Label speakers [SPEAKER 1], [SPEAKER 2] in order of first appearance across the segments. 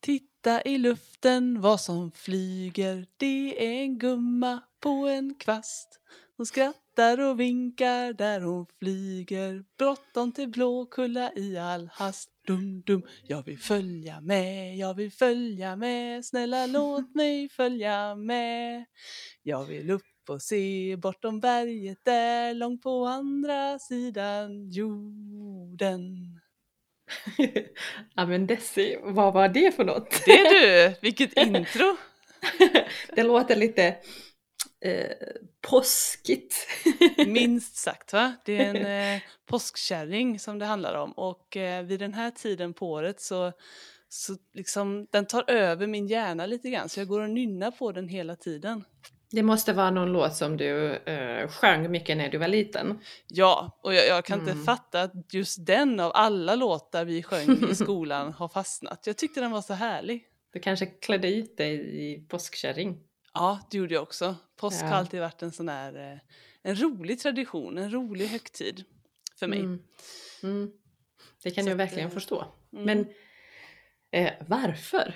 [SPEAKER 1] Titta i luften vad som flyger. Det är en gumma på en kvast. Hon skrattar och vinkar där hon flyger. Bråttom till Blåkulla i all hast. Dum, dum. Jag vill följa med, jag vill följa med. Snälla låt mig följa med. Jag vill upp och se bortom berget där, långt på andra sidan jorden.
[SPEAKER 2] ja men Desi, vad var det för något?
[SPEAKER 1] Det är du! Vilket intro!
[SPEAKER 2] det låter lite eh, påskigt.
[SPEAKER 1] Minst sagt va? Det är en eh, påskkärring som det handlar om och eh, vid den här tiden på året så, så liksom, den tar över min hjärna lite grann så jag går och nynnar på den hela tiden.
[SPEAKER 2] det måste vara någon låt som du eh, sjöng mycket när du var liten.
[SPEAKER 1] Ja, och jag, jag kan inte
[SPEAKER 2] Mm.
[SPEAKER 1] fatta att just den av alla låtar vi sjöng i skolan har fastnat. Jag tyckte den var så härlig.
[SPEAKER 2] Du kanske klädde ut dig i påskkärring.
[SPEAKER 1] Ja, det gjorde jag också. Påsk
[SPEAKER 2] Ja.
[SPEAKER 1] har alltid varit en sån här, eh, en rolig tradition, en rolig högtid för mig.
[SPEAKER 2] Mm. Mm. Det kan
[SPEAKER 1] Så
[SPEAKER 2] jag
[SPEAKER 1] att,
[SPEAKER 2] verkligen
[SPEAKER 1] eh,
[SPEAKER 2] förstå.
[SPEAKER 1] Mm.
[SPEAKER 2] Men eh, varför?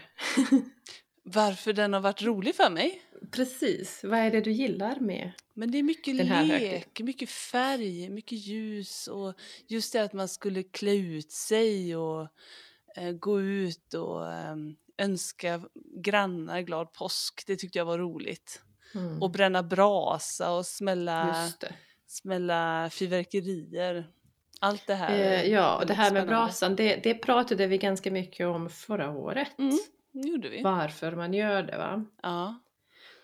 [SPEAKER 1] Varför den har varit rolig för mig?
[SPEAKER 2] Precis, vad är det du gillar med?
[SPEAKER 1] Men det är mycket
[SPEAKER 2] Den här
[SPEAKER 1] lek,
[SPEAKER 2] högtiden.
[SPEAKER 1] mycket färg, mycket ljus och just det att man skulle klä ut sig och eh, gå ut och eh, önska grannar glad påsk. Det tyckte jag var roligt.
[SPEAKER 2] Mm.
[SPEAKER 1] Och bränna brasa och smälla,
[SPEAKER 2] Just det.
[SPEAKER 1] smälla fyrverkerier. Allt det här.
[SPEAKER 2] Eh,
[SPEAKER 1] är
[SPEAKER 2] ja, och det
[SPEAKER 1] väldigt
[SPEAKER 2] här med
[SPEAKER 1] spännande.
[SPEAKER 2] brasan, det, det pratade vi ganska mycket om förra året.
[SPEAKER 1] Mm, det gjorde vi.
[SPEAKER 2] Varför man gör det va?
[SPEAKER 1] Ja,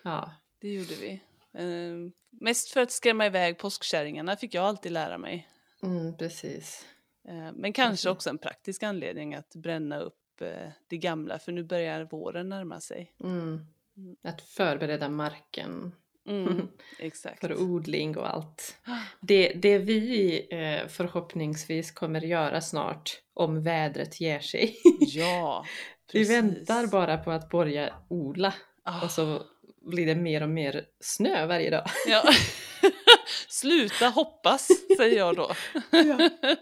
[SPEAKER 2] Ja,
[SPEAKER 1] det gjorde vi. Eh, mest för att skrämma iväg påskkärringarna fick jag alltid lära mig.
[SPEAKER 2] mm, precis.
[SPEAKER 1] Eh, Men kanske
[SPEAKER 2] Mhm.
[SPEAKER 1] också en praktisk anledning att bränna upp eh, det gamla för nu börjar våren närma sig.
[SPEAKER 2] Mm.
[SPEAKER 1] Mm.
[SPEAKER 2] Att förbereda marken
[SPEAKER 1] Mm, exakt.
[SPEAKER 2] för odling och allt.
[SPEAKER 1] Ah,
[SPEAKER 2] Det, det vi eh, förhoppningsvis kommer göra snart om vädret ger sig.
[SPEAKER 1] Ja,
[SPEAKER 2] vi
[SPEAKER 1] precis.
[SPEAKER 2] väntar bara Alltså. på att börja odla
[SPEAKER 1] Ah,
[SPEAKER 2] och så blir det mer och mer snö varje dag.
[SPEAKER 1] ja. Sluta hoppas, säger jag då.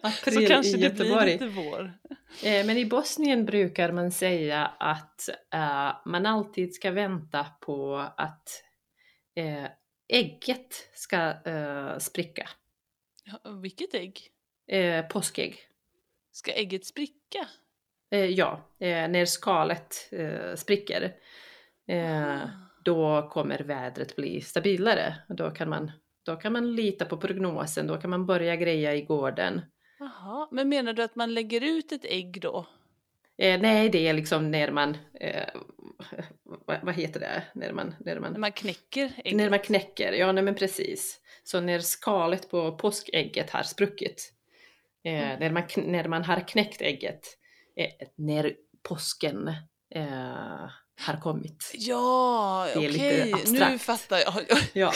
[SPEAKER 2] April
[SPEAKER 1] Så kanske
[SPEAKER 2] i
[SPEAKER 1] det blir
[SPEAKER 2] Göteborg.
[SPEAKER 1] lite vår.
[SPEAKER 2] Eh, Men i Bosnien brukar man säga att eh, man alltid ska vänta på att eh, ägget ska eh, spricka.
[SPEAKER 1] Ja, vilket ägg?
[SPEAKER 2] Eh, påskägg.
[SPEAKER 1] Ska ägget spricka?
[SPEAKER 2] Eh, ja, eh, när skalet eh, spricker. Eh,
[SPEAKER 1] Ah.
[SPEAKER 2] då kommer vädret bli stabilare. Och Då kan, man, då kan man lita på prognosen, då kan man börja greja i gården.
[SPEAKER 1] Jaha, Ah, men menar du att man lägger ut ett ägg då?
[SPEAKER 2] Eh, nej, det är liksom när man... Eh, vad, vad heter det? När man, när man
[SPEAKER 1] När man knäcker ägget?
[SPEAKER 2] När man knäcker, ja nej men precis. Så när skalet på påskägget har spruckit, eh,
[SPEAKER 1] Mm.
[SPEAKER 2] när, man, kn- när man har knäckt ägget, eh, när påsken eh, har kommit.
[SPEAKER 1] Ja,
[SPEAKER 2] Det är lite
[SPEAKER 1] okej. Nu
[SPEAKER 2] abstrakt.
[SPEAKER 1] fattar jag.
[SPEAKER 2] Ja.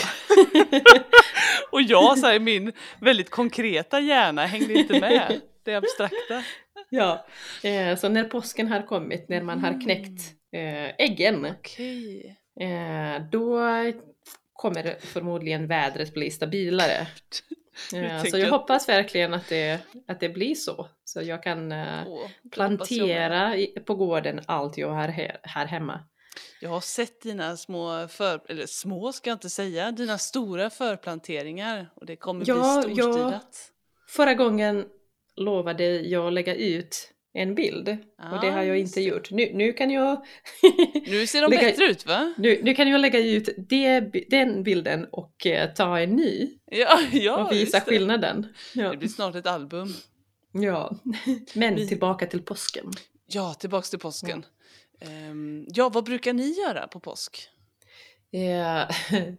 [SPEAKER 1] Och jag så här, i min väldigt konkreta hjärna hängde inte med. Det abstrakta.
[SPEAKER 2] ja. Eh, så när påsken har kommit, när man
[SPEAKER 1] Mm.
[SPEAKER 2] har knäckt eh, äggen,
[SPEAKER 1] Okej.
[SPEAKER 2] eh, då kommer förmodligen vädret bli stabilare. Eh, så
[SPEAKER 1] tänker
[SPEAKER 2] jag
[SPEAKER 1] att-
[SPEAKER 2] hoppas verkligen att det, att det blir så. Så jag kan eh,
[SPEAKER 1] Åh, det hoppas jag med.
[SPEAKER 2] plantera i- på gården allt jag har he- här hemma.
[SPEAKER 1] Jag har sett dina små, för, eller små ska jag inte säga, dina stora förplanteringar och det kommer
[SPEAKER 2] Ja,
[SPEAKER 1] bli
[SPEAKER 2] ja.
[SPEAKER 1] storstilat.
[SPEAKER 2] Förra gången lovade jag lägga ut en bild och det
[SPEAKER 1] Ah,
[SPEAKER 2] har jag
[SPEAKER 1] just
[SPEAKER 2] inte
[SPEAKER 1] det.
[SPEAKER 2] gjort. Nu, nu, kan jag
[SPEAKER 1] Nu ser de
[SPEAKER 2] Lägga-
[SPEAKER 1] bättre ut va?
[SPEAKER 2] nu, nu kan jag lägga ut det, bi- den bilden och eh, ta en ny
[SPEAKER 1] Ja, ja
[SPEAKER 2] och visa
[SPEAKER 1] just det.
[SPEAKER 2] skillnaden. Ja.
[SPEAKER 1] det blir snart ett album.
[SPEAKER 2] Ja. Men
[SPEAKER 1] Vi-
[SPEAKER 2] tillbaka till påsken.
[SPEAKER 1] Ja, tillbaks till påsken. Ehm, ja, vad brukar ni göra på påsk?
[SPEAKER 2] Eh,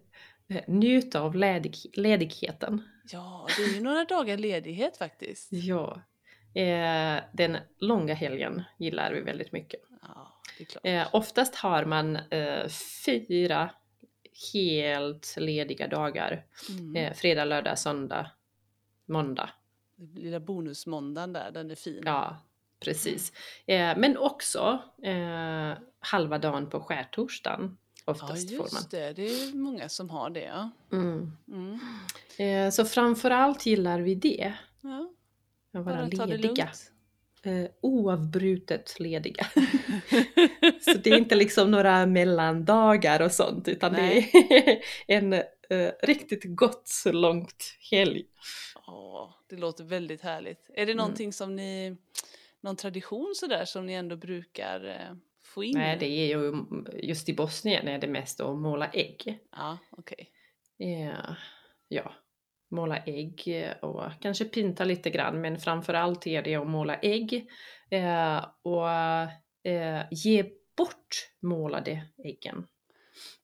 [SPEAKER 2] Njuta av ledig, ledigheten.
[SPEAKER 1] Ja, det är ju några dagar ledighet faktiskt.
[SPEAKER 2] Ja. Eh, Den långa helgen gillar vi väldigt mycket.
[SPEAKER 1] Ja, det är klart.
[SPEAKER 2] Eh, oftast har man eh, fyra helt lediga dagar.
[SPEAKER 1] Mm.
[SPEAKER 2] Eh, fredag, lördag, söndag, måndag.
[SPEAKER 1] Lilla bonusmåndagen där, den är fin.
[SPEAKER 2] Ja, precis. Eh, men också eh, halva dagen på skärtorsdagen.
[SPEAKER 1] Ja,
[SPEAKER 2] Oftast får man.
[SPEAKER 1] just det. Det är många som har det. Ja.
[SPEAKER 2] Mm.
[SPEAKER 1] Mm.
[SPEAKER 2] Eh, så framförallt gillar vi det.
[SPEAKER 1] Ja,
[SPEAKER 2] Att
[SPEAKER 1] bara
[SPEAKER 2] vara
[SPEAKER 1] ta det
[SPEAKER 2] lediga.
[SPEAKER 1] lugnt.
[SPEAKER 2] eh, oavbrutet lediga. så det är inte liksom några mellandagar och sånt utan
[SPEAKER 1] Nej.
[SPEAKER 2] det är en eh, riktigt gott långt helg.
[SPEAKER 1] Ja, det låter väldigt härligt. Är
[SPEAKER 2] Mm.
[SPEAKER 1] det någonting som ni, någon tradition sådär som ni ändå brukar eh, få in?
[SPEAKER 2] Nej, det är ju mm, just i Bosnien är det mest att måla ägg.
[SPEAKER 1] Ja, okej.
[SPEAKER 2] Eh, ja, måla ägg och kanske pinta lite grann men framförallt är det att måla ägg eh, och eh, ge bort målade äggen.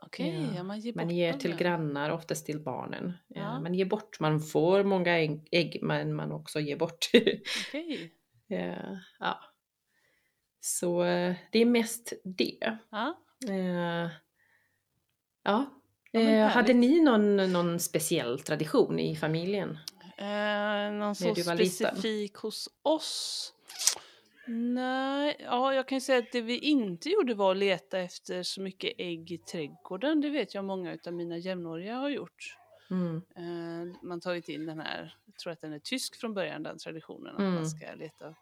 [SPEAKER 1] Okej,
[SPEAKER 2] Ja,
[SPEAKER 1] ja, man ger
[SPEAKER 2] Man
[SPEAKER 1] bort
[SPEAKER 2] ger
[SPEAKER 1] dem,
[SPEAKER 2] till
[SPEAKER 1] ja.
[SPEAKER 2] grannar, oftast till barnen. Eh,
[SPEAKER 1] Ja.
[SPEAKER 2] Man ger bort, man får många ägg- ägg men man också ger bort.
[SPEAKER 1] Okej.
[SPEAKER 2] eh, ja. Så eh, det är mest det.
[SPEAKER 1] Ja.
[SPEAKER 2] Eh, ja.
[SPEAKER 1] men
[SPEAKER 2] Eh, hade
[SPEAKER 1] härligt.
[SPEAKER 2] ni någon, någon speciell tradition i familjen?
[SPEAKER 1] Eh, någon så
[SPEAKER 2] När du var liten.
[SPEAKER 1] specifik hos oss? Nej, ja, jag kan ju säga att det vi inte gjorde var att leta efter så mycket ägg i trädgården. Det vet jag många av mina jämnåriga har gjort.
[SPEAKER 2] Mm.
[SPEAKER 1] Eh, man tagit in den här, jag tror att den är tysk från början, den traditionen att
[SPEAKER 2] Mm.
[SPEAKER 1] man ska leta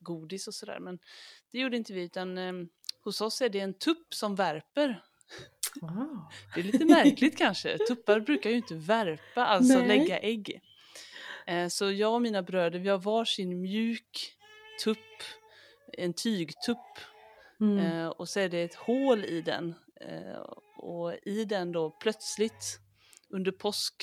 [SPEAKER 1] godis och sådär. Men det gjorde inte vi utan eh, hos oss är det en tupp som värper.
[SPEAKER 2] Wow.
[SPEAKER 1] Det är lite märkligt kanske. Tuppar brukar ju inte värpa, alltså
[SPEAKER 2] Nej.
[SPEAKER 1] lägga ägg. Eh, så jag och mina bröder, vi har varsin mjuk tupp, en tygtupp
[SPEAKER 2] Mm.
[SPEAKER 1] Eh, och så är det ett hål i den. Eh, och i den då plötsligt under påsk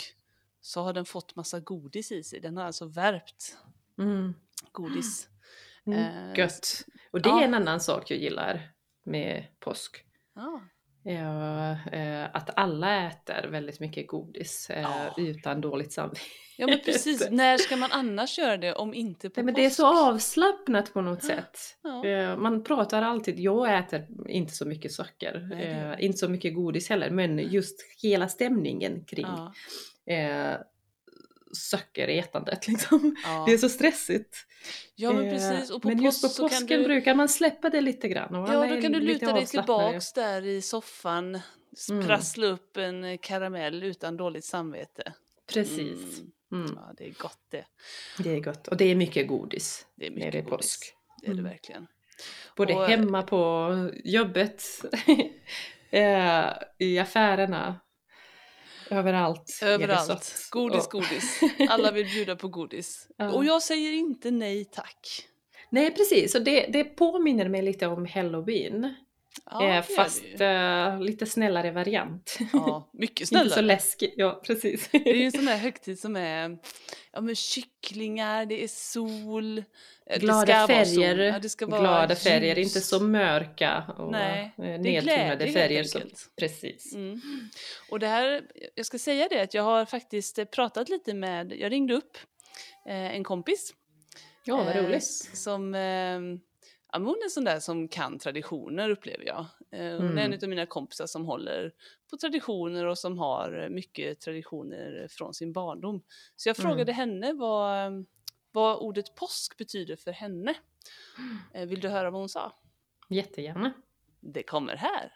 [SPEAKER 1] så har den fått massa godis i sig. Den har alltså värpt
[SPEAKER 2] Mm.
[SPEAKER 1] godis.
[SPEAKER 2] Mm.
[SPEAKER 1] Eh,
[SPEAKER 2] Gött! Och det
[SPEAKER 1] ja.
[SPEAKER 2] är en annan sak jag gillar med påsk.
[SPEAKER 1] Ja,
[SPEAKER 2] Ja, eh, att alla äter väldigt mycket godis eh,
[SPEAKER 1] Ja.
[SPEAKER 2] utan dåligt samvete.
[SPEAKER 1] ja men precis. När ska man annars göra det om inte på
[SPEAKER 2] Nej, men
[SPEAKER 1] påsk?
[SPEAKER 2] det är så avslappnat på något sätt.
[SPEAKER 1] Ja.
[SPEAKER 2] Eh, Man pratar alltid, jag äter inte så mycket socker,
[SPEAKER 1] Nej, det gör
[SPEAKER 2] eh,
[SPEAKER 1] jag.
[SPEAKER 2] inte så mycket godis heller, men just hela stämningen kring
[SPEAKER 1] Ja,
[SPEAKER 2] eh, sockerätandet liksom.
[SPEAKER 1] ja.
[SPEAKER 2] Det är så stressigt.
[SPEAKER 1] ja, men
[SPEAKER 2] Eh,
[SPEAKER 1] precis. Och på
[SPEAKER 2] men just
[SPEAKER 1] påsk
[SPEAKER 2] på
[SPEAKER 1] så
[SPEAKER 2] påsken
[SPEAKER 1] kan du...
[SPEAKER 2] brukar man släppa det lite grann. och alla
[SPEAKER 1] Ja,
[SPEAKER 2] är
[SPEAKER 1] då kan du
[SPEAKER 2] lite
[SPEAKER 1] luta dig
[SPEAKER 2] avslappnade.
[SPEAKER 1] tillbaks där i soffan,
[SPEAKER 2] Mm.
[SPEAKER 1] sprassla upp en eh, karamell utan dåligt samvete.
[SPEAKER 2] Precis.
[SPEAKER 1] Mm.
[SPEAKER 2] Mm.
[SPEAKER 1] Ja, det är gott det.
[SPEAKER 2] Det är gott. Och det är mycket godis.
[SPEAKER 1] Det är
[SPEAKER 2] När
[SPEAKER 1] mycket
[SPEAKER 2] det är
[SPEAKER 1] godis.
[SPEAKER 2] påsk.
[SPEAKER 1] Det är det
[SPEAKER 2] Mm.
[SPEAKER 1] verkligen.
[SPEAKER 2] Både
[SPEAKER 1] Och-
[SPEAKER 2] hemma på jobbet, eh, i affärerna, överallt. är det
[SPEAKER 1] Överallt.
[SPEAKER 2] sött.
[SPEAKER 1] Godis,
[SPEAKER 2] Och-
[SPEAKER 1] godis. Alla vill bjuda på godis.
[SPEAKER 2] Ja.
[SPEAKER 1] Och jag säger inte nej tack.
[SPEAKER 2] Nej precis, och det, det påminner mig lite om halloween.
[SPEAKER 1] Ja, det
[SPEAKER 2] eh,
[SPEAKER 1] gör det
[SPEAKER 2] fast
[SPEAKER 1] ju.
[SPEAKER 2] eh, lite snällare variant.
[SPEAKER 1] Ja, mycket
[SPEAKER 2] Inte så
[SPEAKER 1] snällare.
[SPEAKER 2] läskig. Ja, precis.
[SPEAKER 1] Det är ju en sån här högtid som är ja, men kycklingar, det är sol. eh, det
[SPEAKER 2] Glada
[SPEAKER 1] ska vara sol.
[SPEAKER 2] färger,
[SPEAKER 1] Ja, det ska vara
[SPEAKER 2] glada färger,
[SPEAKER 1] ljus.
[SPEAKER 2] inte så mörka och
[SPEAKER 1] Nej,
[SPEAKER 2] Nej,
[SPEAKER 1] Det är
[SPEAKER 2] nedtonade
[SPEAKER 1] glädje
[SPEAKER 2] färger.
[SPEAKER 1] helt
[SPEAKER 2] Som,
[SPEAKER 1] enkelt.
[SPEAKER 2] precis.
[SPEAKER 1] Mm. Och det här, jag ska säga det att jag har faktiskt eh, pratat lite med, jag ringde upp eh, en kompis
[SPEAKER 2] Ja, vad
[SPEAKER 1] Eh,
[SPEAKER 2] roligt.
[SPEAKER 1] s- Som, eh, ja, men hon är en sån där som kan traditioner upplever jag. Eh, hon är en
[SPEAKER 2] Mm.
[SPEAKER 1] av mina kompisar som håller på traditioner och som har eh, mycket traditioner från sin barndom. Så jag
[SPEAKER 2] Mm.
[SPEAKER 1] frågade henne vad, eh, vad ordet påsk betyder för henne. Eh, vill du höra vad hon sa?
[SPEAKER 2] Jättegärna.
[SPEAKER 1] Det kommer här.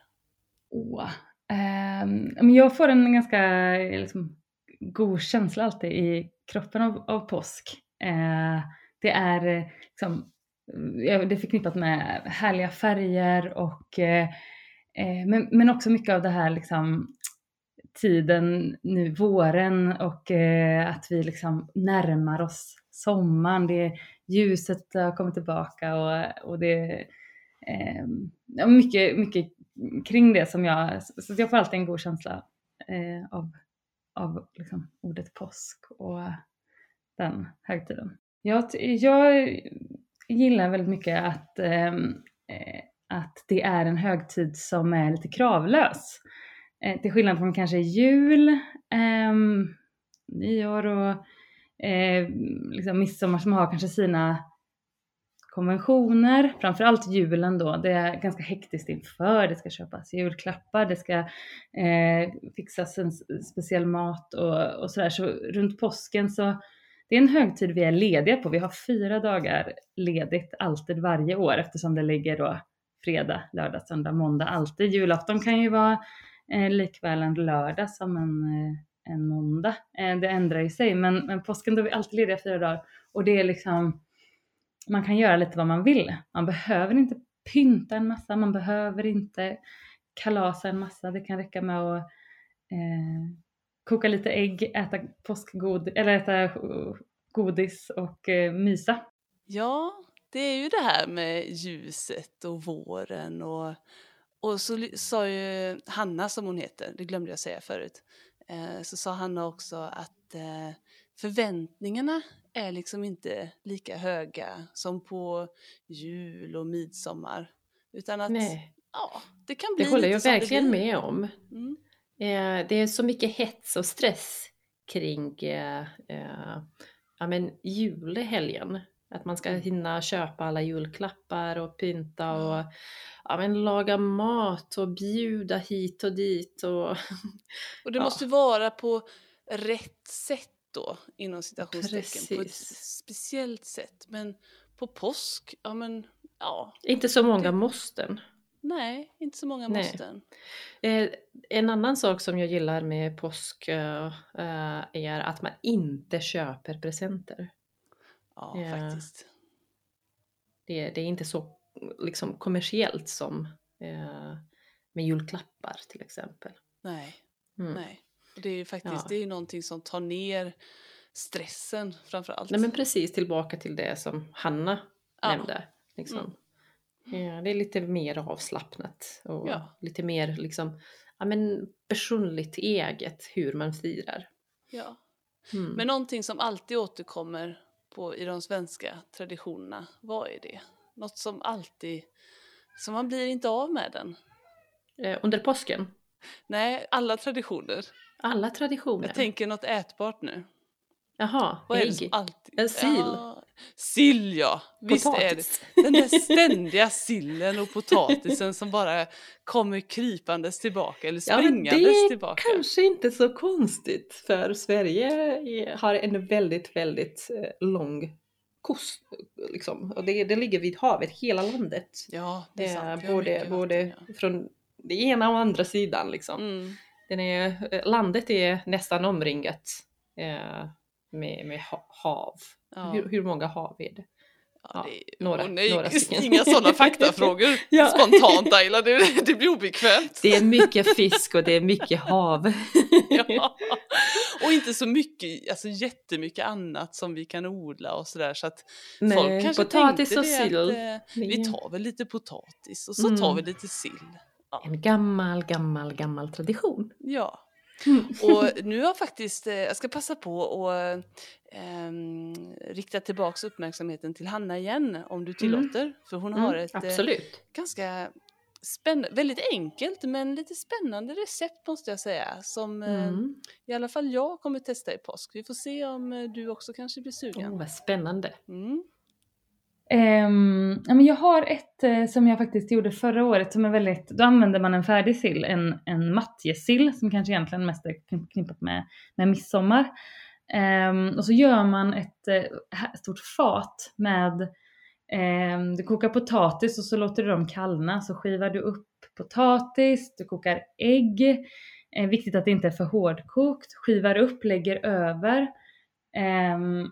[SPEAKER 3] Åh. Ehm, men jag får en ganska liksom, god känsla alltid i kroppen av, av påsk. Eh, det är eh, liksom, ja, det är förknippat med härliga färger och eh, eh, men, men också mycket av det här liksom, tiden nu, våren och eh, att vi liksom närmar oss sommaren. Det, ljuset har kommit tillbaka och, och det är eh, mycket, mycket kring det som jag, så så jag får alltid en god känsla eh, av, av liksom ordet påsk och den högtiden. Jag, ty- jag gillar väldigt mycket att, ehm, eh, att det är en högtid som är lite kravlös. Eh, till skillnad från kanske jul, ehm, nyår och eh, liksom midsommar som har kanske sina konventioner, framförallt julen då. Det är ganska hektiskt inför, det ska köpas julklappar, det ska eh, fixas en s- speciell mat och, och sådär. Så runt påsken så, det är en högtid vi är lediga på. Vi har fyra dagar ledigt alltid varje år eftersom det ligger då fredag, lördag, söndag, måndag alltid. Julafton kan ju vara eh, likväl en lördag som en, eh, en måndag. Eh, det ändrar ju sig, men, men påsken då är vi alltid lediga fyra dagar och det är liksom man kan göra lite vad man vill. Man behöver inte pynta en massa, man behöver inte kalasa en massa. Det kan räcka med att eh, koka lite ägg, äta påskgod, eller äta godis och eh, mysa.
[SPEAKER 1] Ja, det är ju det här med ljuset och våren och, och så li- sa ju Hanna som hon heter, det glömde jag säga förut, eh, så sa Hanna också att eh, förväntningarna är liksom inte lika höga som på jul och midsommar. Utan att
[SPEAKER 2] Nej,
[SPEAKER 1] ja, det kan bli
[SPEAKER 2] det håller
[SPEAKER 1] lite
[SPEAKER 2] jag
[SPEAKER 1] som det
[SPEAKER 2] verkligen
[SPEAKER 1] blir.
[SPEAKER 2] med om.
[SPEAKER 1] Mm.
[SPEAKER 2] Eh, det är så mycket hets och stress kring eh, eh, ja, men julhelgen. Att man ska
[SPEAKER 1] Mm.
[SPEAKER 2] hinna köpa alla julklappar och pynta och ja, men laga mat och bjuda hit och dit. Och
[SPEAKER 1] Och det
[SPEAKER 2] Ja.
[SPEAKER 1] måste vara på rätt sätt då, inom citationstecken. På ett
[SPEAKER 2] Precis.
[SPEAKER 1] speciellt sätt. Men på påsk, ja men ja,
[SPEAKER 2] inte så många
[SPEAKER 1] Det-
[SPEAKER 2] måsten.
[SPEAKER 1] nej, inte så många
[SPEAKER 2] Nej.
[SPEAKER 1] måsten.
[SPEAKER 2] Eh, En annan sak som jag gillar med påsk eh, eh, är att man inte köper presenter.
[SPEAKER 1] Ja,
[SPEAKER 2] Ja.
[SPEAKER 1] faktiskt.
[SPEAKER 2] Det, det är inte så liksom, kommersiellt som eh, med julklappar till exempel.
[SPEAKER 1] Nej,
[SPEAKER 2] Mm.
[SPEAKER 1] nej. Och det är ju faktiskt
[SPEAKER 2] Ja.
[SPEAKER 1] det är ju någonting som tar ner stressen framför allt.
[SPEAKER 2] Nej men precis tillbaka till det som Hanna
[SPEAKER 1] Ja. Mm.
[SPEAKER 2] nämnde. Liksom. Ja, det är lite mer avslappnat och
[SPEAKER 1] Ja.
[SPEAKER 2] lite mer liksom, ja, men personligt eget hur man firar.
[SPEAKER 1] ja.
[SPEAKER 2] Mm.
[SPEAKER 1] men någonting som alltid återkommer på, i de svenska traditionerna, vad är det? Något som alltid, som man blir inte av med den.
[SPEAKER 2] Eh, Under påsken,
[SPEAKER 1] Nej, alla traditioner.
[SPEAKER 2] alla traditioner.
[SPEAKER 1] Jag tänker något ätbart nu.
[SPEAKER 2] Jaha,
[SPEAKER 1] Vad är det som
[SPEAKER 2] ägg.
[SPEAKER 1] alltid...
[SPEAKER 2] En sill.
[SPEAKER 1] Ja, sill ja! Visst är det.
[SPEAKER 2] Potatis.
[SPEAKER 1] Den där ständiga sillen och potatisen som bara kommer krypandes tillbaka eller
[SPEAKER 2] Ja, men
[SPEAKER 1] springandes
[SPEAKER 2] det
[SPEAKER 1] tillbaka.
[SPEAKER 2] Kanske inte så konstigt för Sverige är- har en väldigt, väldigt eh, lång kust liksom. Och det, det ligger vid havet, hela landet.
[SPEAKER 1] Ja, det
[SPEAKER 2] Det
[SPEAKER 1] är
[SPEAKER 2] är
[SPEAKER 1] sant. Vi har
[SPEAKER 2] både,
[SPEAKER 1] mycket
[SPEAKER 2] både
[SPEAKER 1] vatten,
[SPEAKER 2] från det ena och andra sidan
[SPEAKER 1] ja.
[SPEAKER 2] liksom.
[SPEAKER 1] Mm.
[SPEAKER 2] Den är, eh, landet är nästan omringat eh, med, med ha- hav.
[SPEAKER 1] Ja.
[SPEAKER 2] Hur, hur många hav är det?
[SPEAKER 1] Ja, det är...
[SPEAKER 2] några-
[SPEAKER 1] Åh, nej,
[SPEAKER 2] några stycken.
[SPEAKER 1] inga sådana faktafrågor
[SPEAKER 2] Ja.
[SPEAKER 1] spontant Ayla, det, det blir obekvämt.
[SPEAKER 2] Det är mycket fisk och det är mycket hav.
[SPEAKER 1] Ja. Och inte så mycket, alltså jättemycket annat som vi kan odla och sådär så att
[SPEAKER 2] Nej,
[SPEAKER 1] folk kanske
[SPEAKER 2] potatis
[SPEAKER 1] tänkte
[SPEAKER 2] och
[SPEAKER 1] det att,
[SPEAKER 2] sill.
[SPEAKER 1] eh, Vi tar väl lite potatis och så
[SPEAKER 2] Mm.
[SPEAKER 1] tar vi lite sill.
[SPEAKER 2] En gammal, gammal, gammal tradition.
[SPEAKER 1] Ja. Och nu har faktiskt, eh, jag ska passa på att ehm, rikta tillbaks uppmärksamheten till Hanna igen om du tillåter. För hon har ett eh,
[SPEAKER 2] Mm. Absolut.
[SPEAKER 1] ganska spännande, väldigt enkelt men lite spännande recept måste jag säga. Som eh,
[SPEAKER 2] Mm.
[SPEAKER 1] i alla fall jag kommer testa i påsk. Vi får se om eh, du också kanske blir sugen.
[SPEAKER 2] Åh, vad spännande.
[SPEAKER 1] Mm.
[SPEAKER 3] Ehm, ja, men jag har ett eh, som jag faktiskt gjorde förra året som är väldigt, då använder man en färdig sill, en, en matjessill som kanske egentligen mest är knip- knippat med, med midsommar. Ehm, och så gör man ett eh, här- stort fat med, ehm, du kokar potatis och så låter du dem kallna, så skivar du upp potatis, du kokar ägg, eh, viktigt att det inte är för hårdkokt, skivar upp, lägger över, ehm,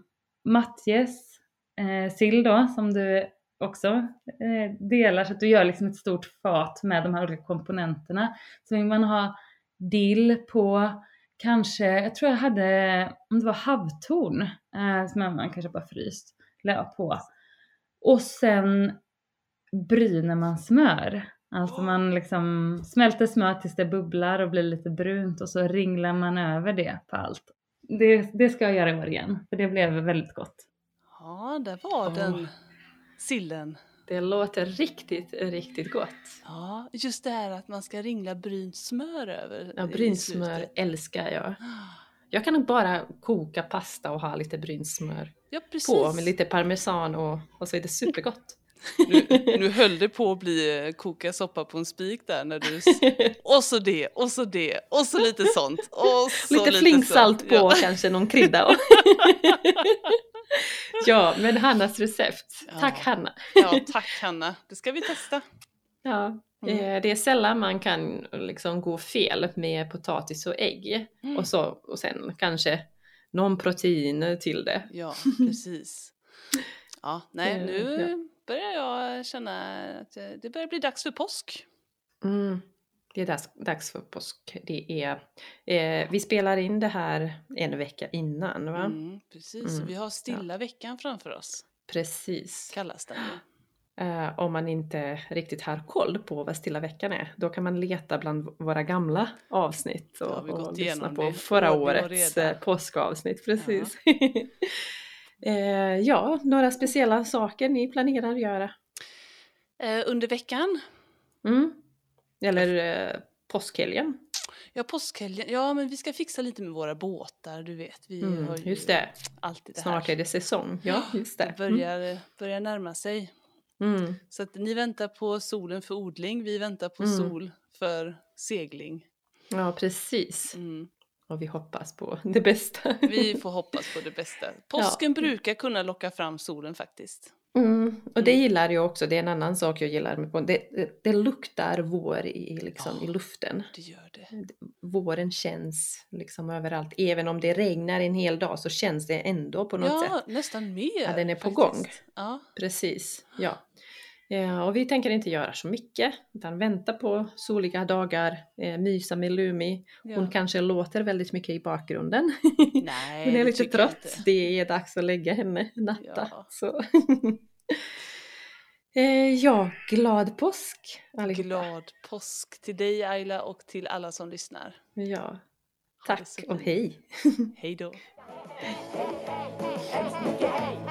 [SPEAKER 3] matjes, eh, sill då som du också eh, delar så att du gör liksom ett stort fat med de här olika komponenterna. Så vill man ha dill på kanske, jag tror jag hade, om det var havtorn eh, som man kanske bara fryst, la på. Och sen bryner man smör. Alltså man liksom smälter smör tills det bubblar och blir lite brunt och så ringlar man över det på allt. Det, det ska jag göra i år igen, för det blev väldigt gott.
[SPEAKER 1] Ja, där var
[SPEAKER 2] Åh.
[SPEAKER 1] den sillen.
[SPEAKER 2] Det låter riktigt, riktigt gott.
[SPEAKER 1] Ja, just det här att man ska ringla brynt smör över.
[SPEAKER 2] Ja,
[SPEAKER 1] i
[SPEAKER 2] brynsmör
[SPEAKER 1] slutet.
[SPEAKER 2] älskar jag.
[SPEAKER 1] Ah,
[SPEAKER 2] Jag kan nog bara koka pasta och ha lite brynsmör
[SPEAKER 1] Ja, precis.
[SPEAKER 2] på med lite parmesan och, och så är det supergott.
[SPEAKER 1] nu, nu höll det på att bli eh, koka soppa på en spik där när du... s- Och så det, och så det, och så lite sånt. Och så
[SPEAKER 2] lite
[SPEAKER 1] sånt.
[SPEAKER 2] flingsalt på
[SPEAKER 1] Ja.
[SPEAKER 2] kanske någon krydda. och- ja, men Hannas recept. Tack
[SPEAKER 1] Ja.
[SPEAKER 2] Hanna.
[SPEAKER 1] ja, tack Hanna. Det ska vi testa.
[SPEAKER 2] Ja,
[SPEAKER 1] Mm.
[SPEAKER 2] eh, det är sällan man kan liksom gå fel med potatis och ägg.
[SPEAKER 1] Mm.
[SPEAKER 2] Och, så, och sen kanske någon protein till det.
[SPEAKER 1] Ja, precis. Ja, nej,
[SPEAKER 2] Eh,
[SPEAKER 1] nu börjar jag känna att eh, det börjar bli dags för påsk.
[SPEAKER 2] Mm. Det är dags, dags för påsk. Det är, eh, vi spelar in det här en vecka innan, va?
[SPEAKER 1] Mm, precis,
[SPEAKER 2] Mm,
[SPEAKER 1] vi har stilla veckan framför oss,
[SPEAKER 2] Precis.
[SPEAKER 1] kallas den ju.
[SPEAKER 2] Eh, om man inte riktigt har koll på vad stilla veckan är, då kan man leta bland v- våra gamla avsnitt
[SPEAKER 1] Då har
[SPEAKER 2] och,
[SPEAKER 1] vi gått
[SPEAKER 2] och lyssna
[SPEAKER 1] igenom
[SPEAKER 2] på
[SPEAKER 1] det i
[SPEAKER 2] förra
[SPEAKER 1] ordning och
[SPEAKER 2] årets
[SPEAKER 1] reda.
[SPEAKER 2] eh, påskavsnitt. Precis. eh, ja, några speciella saker ni planerar att göra?
[SPEAKER 1] Eh, under veckan,
[SPEAKER 2] Mm. Eller eh, påskhelgen?
[SPEAKER 1] ja påskhelgen, ja men vi ska fixa lite med våra båtar, du vet. Vi
[SPEAKER 2] Mm,
[SPEAKER 1] har ju
[SPEAKER 2] just det,
[SPEAKER 1] alltid det
[SPEAKER 2] snart
[SPEAKER 1] här.
[SPEAKER 2] är det säsong. Ja, just det.
[SPEAKER 1] Det börjar, börjar närma sig.
[SPEAKER 2] Mm. Mm.
[SPEAKER 1] Så att ni väntar på solen för odling, vi väntar på
[SPEAKER 2] Mm.
[SPEAKER 1] sol för segling.
[SPEAKER 2] Ja, precis.
[SPEAKER 1] Mm.
[SPEAKER 2] Och vi hoppas på det bästa.
[SPEAKER 1] Vi får hoppas på det bästa. Påsken brukar kunna locka fram solen faktiskt.
[SPEAKER 2] Mm. Och det gillar jag också, det är en annan sak jag gillar med på. Det, det, det luktar vår i, liksom, i
[SPEAKER 1] Ja.
[SPEAKER 2] luften.
[SPEAKER 1] Det gör det.
[SPEAKER 2] Våren känns liksom överallt. Även om det regnar en hel dag så känns det ändå på något
[SPEAKER 1] Ja,
[SPEAKER 2] sätt.
[SPEAKER 1] nästan mer.
[SPEAKER 2] Ja, den är på
[SPEAKER 1] faktiskt.
[SPEAKER 2] gång.
[SPEAKER 1] Ja.
[SPEAKER 2] Precis, ja. Eh, och vi tänker inte göra så mycket, utan vänta på soliga dagar, eh, mysa med Lumi.
[SPEAKER 1] ja.
[SPEAKER 2] Hon kanske låter väldigt mycket i bakgrunden.
[SPEAKER 1] Nej,
[SPEAKER 2] Hon är
[SPEAKER 1] det
[SPEAKER 2] lite
[SPEAKER 1] tycker jag
[SPEAKER 2] trött.
[SPEAKER 1] inte.
[SPEAKER 2] Det är dags att lägga henne natta.
[SPEAKER 1] Ja.
[SPEAKER 2] Så. eh, ja, glad påsk allihopa.
[SPEAKER 1] Glad påsk till dig Ayla och till alla som lyssnar.
[SPEAKER 2] Ja.
[SPEAKER 1] det
[SPEAKER 2] Tack
[SPEAKER 1] så fint.
[SPEAKER 2] och hej.
[SPEAKER 1] Hej då.
[SPEAKER 4] Hej, hej, hej, hemskt mycket hej!